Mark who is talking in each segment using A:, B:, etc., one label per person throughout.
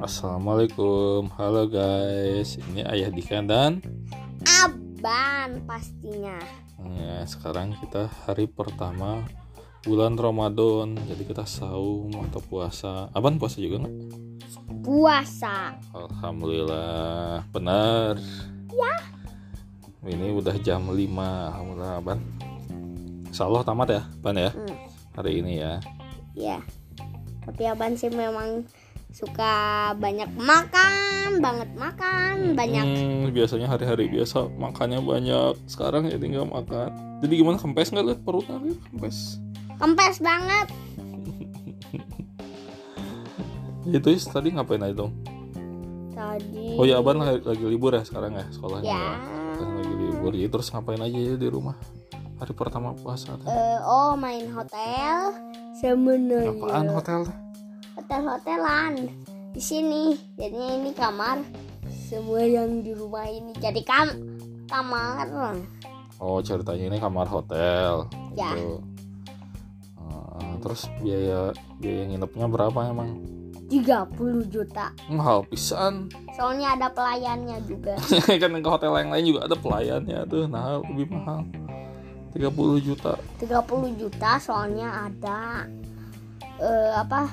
A: Assalamualaikum, halo guys. Ini Ayah Dika dan
B: Aban pastinya.
A: ya, sekarang kita hari pertama bulan Ramadan. Jadi kita saum atau puasa. Aban puasa juga nggak?
B: Puasa.
A: Alhamdulillah, benar. Ya. Ini udah jam 5 Alhamdulillah, Aban. Insya Allah tamat ya, Ban ya.
B: Hmm.
A: Hari ini ya.
B: Ya. Tapi Aban sih memang suka banyak makan, banget makan, banyak.
A: Hmm, biasanya hari-hari biasa makannya banyak. Sekarang jadi nggak makan. Jadi gimana kempes nggak lu perutnya Lu kempes?
B: Kempes banget.
A: Itu is, Ya, tadi ngapain aja dong?
B: Tadi.
A: Oh ya Aban lagi, lagi libur ya sekarang ya sekolahnya.
B: Ya.
A: ya? Sekarang lagi libur. Jadi terus ngapain aja ya di rumah? Hari pertama puasa. teh.
B: Eh, oh main hotel. Sebenarnya.
A: Apaan hotel? teh?
B: Hotel-hotelan. Di sini. Jadinya ini kamar. Semua yang di rumah ini jadi kam kamar.
A: Oh ceritanya ini kamar hotel.
B: Ya.
A: Gitu. Eh, terus biaya biaya nginepnya berapa emang?
B: 30 juta.
A: Mahal pisan.
B: Soalnya ada pelayannya juga.
A: kan ke hotel yang lain juga ada pelayannya tuh nah lebih mahal 30 juta
B: 30 juta soalnya ada eh, apa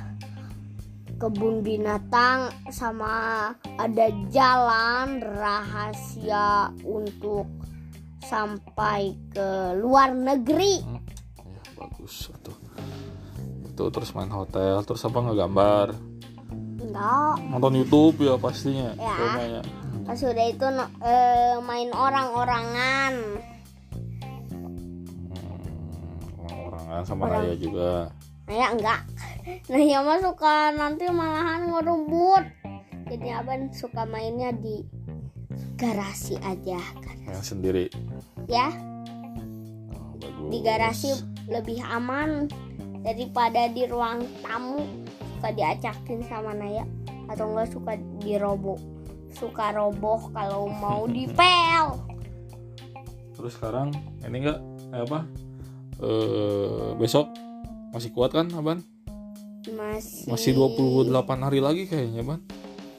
B: kebun binatang sama ada jalan rahasia untuk sampai ke luar negeri
A: ya bagus tuh itu terus main hotel terus apa ngegambar
B: enggak
A: nonton YouTube ya pastinya
B: Ya.
A: rumahnya
B: pas udah itu no- eh, main orang-orangan
A: hmm, orangan sama
B: Orang.
A: Raya juga
B: nah ya enggak nah ya mah suka nanti malahan ngerebut jadi abang suka mainnya di garasi aja kan,
A: yang sendiri
B: ya
A: Oh, bagus
B: di garasi lebih aman daripada di ruang tamu suka diacakin sama Naya atau enggak suka diroboh suka roboh kalau mau dipel
A: terus sekarang ini enggak eh, apa eh, besok masih kuat kan Aban?
B: masih
A: Masih 28 hari lagi kayaknya Aban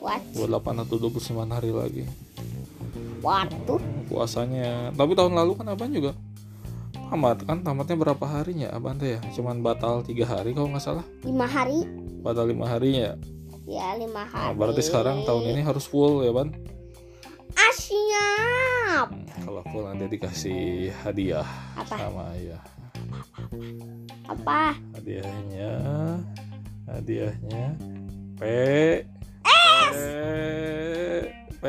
B: what
A: 28 atau 29 hari lagi
B: waduh
A: puasanya tapi tahun lalu kan abang juga tamat kan tamatnya berapa harinya abang teh ya cuman batal tiga hari kalau nggak salah
B: lima hari
A: batal lima harinya
B: ya lima
A: nah,
B: hari
A: berarti sekarang tahun ini harus full ya ban
B: ah siap
A: Hmm, kalau full nanti dikasih hadiah
B: apa
A: sama ya
B: apa
A: hadiahnya hadiahnya p s p, p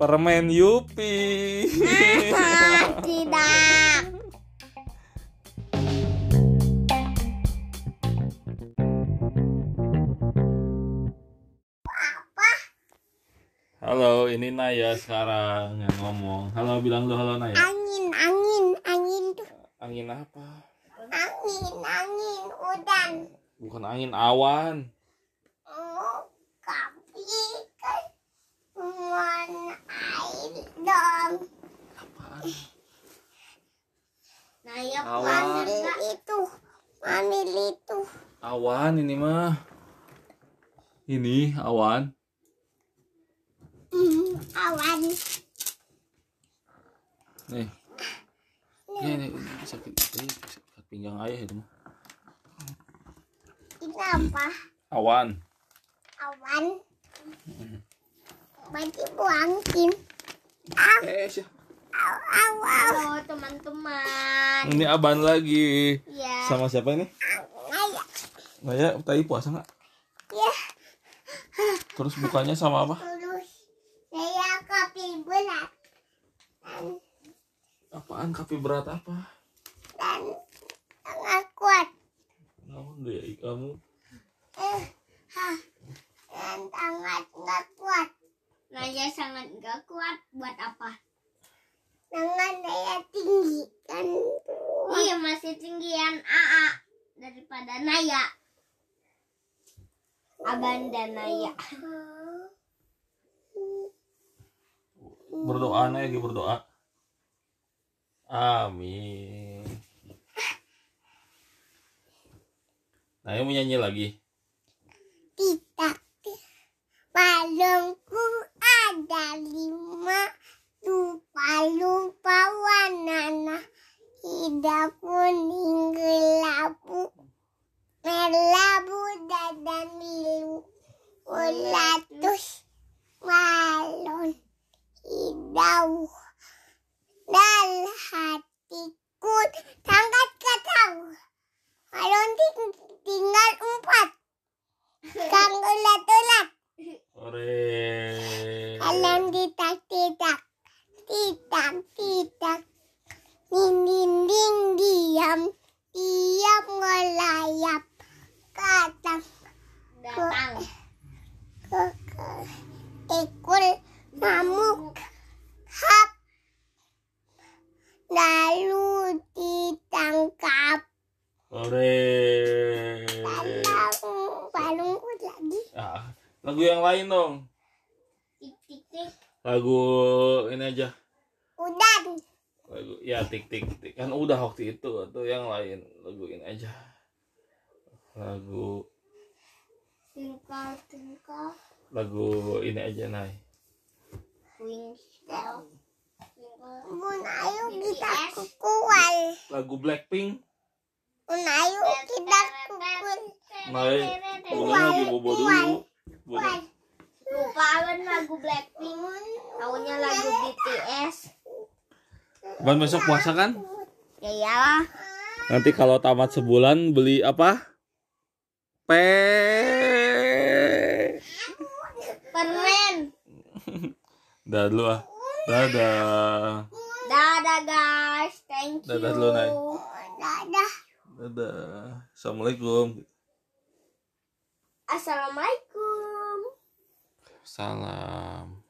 A: permen yupi
B: Ah, tidak
A: Halo, ini Naya sekarang yang ngomong. Halo, bilang dong halo Naya.
B: angin angin angin tuh
A: Angin apa?
B: angin angin udan
A: Bukan angin awan.
B: kopi Oh, kan warna air dong.
A: Apaan?
B: Nah ya
A: Awan.
B: panggil itu, panggil itu.
A: Awan ini mah. Ini awan.
B: Hmm, awan.
A: Nih. Nih, nih, ini sakit. Ini sakit pinggang ayah itu mah.
B: Ini apa?
A: Awan.
B: Awan. Berarti buangkin. Ah,
A: Eh, sih.
B: aw, aw, aw. Halo teman-teman.
A: Ini aban lagi.
B: Ya,
A: Sama siapa ini?
B: Naya.
A: Naya, tadi puasa nggak?
B: Ya,
A: Terus bukanya sama apa?
B: terus nah, ya, saya kopi bulat dan
A: Apaan? Kafe berat apa?
B: dan sangat kuat.
A: Namun deh, kamu.
B: Eh, hah, dan sangat nggak kuat. Raja sangat nggak kuat buat apa? Tangan saya tinggi kan. Iya masih tinggian AA daripada Naya. Abang dan Naya.
A: berdoa Naya lagi berdoa amin Ayo Nah, mau nyanyi lagi.
C: tidak palungku ada lima lupa lupa warna tidak kuning kelabu melabu dan biru ulatus balon hijau dan hatiku sangat kacau balon ting- tinggal empat Kang ulat-ulat,
A: Ore.
C: alam tidak-tidak, tidak-tidak, dinding-ding diam, diam ngelayap, kadang
B: datang
C: ke ke ekor nyamuk, hap, lalu ditangkap,
A: Ore.
C: lalu balungku lagi,
A: Ah, lagu yang lain dong.
B: tik tik tik
A: Lagu ini aja.
C: udan,
A: Lagu ya tik tik tik kan udah waktu itu atau yang lain lagu ini aja. Lagu
B: twinkle twinkle
A: lagu ini aja Nay.
B: wings down twinkle
C: bun ayu kita kukual.
A: Lagu Blackpink.
C: Unayu kita kumpul
A: Nay, lagunya lagi bobo dulu. Bobo.
B: lupakan lagu Blackpink tahunya lagu BTS
A: Ban besok puasa kan?
B: ya iyalah
A: Nanti kalau tamat sebulan beli apa? Pe.
B: permen
A: Dadah dulu ah. Dadah.
B: dadah guys thank you
A: Dadah dulu, Nay.
C: dadah
A: Dadah. Assalamualaikum.
B: assalamualaikum
A: Salam.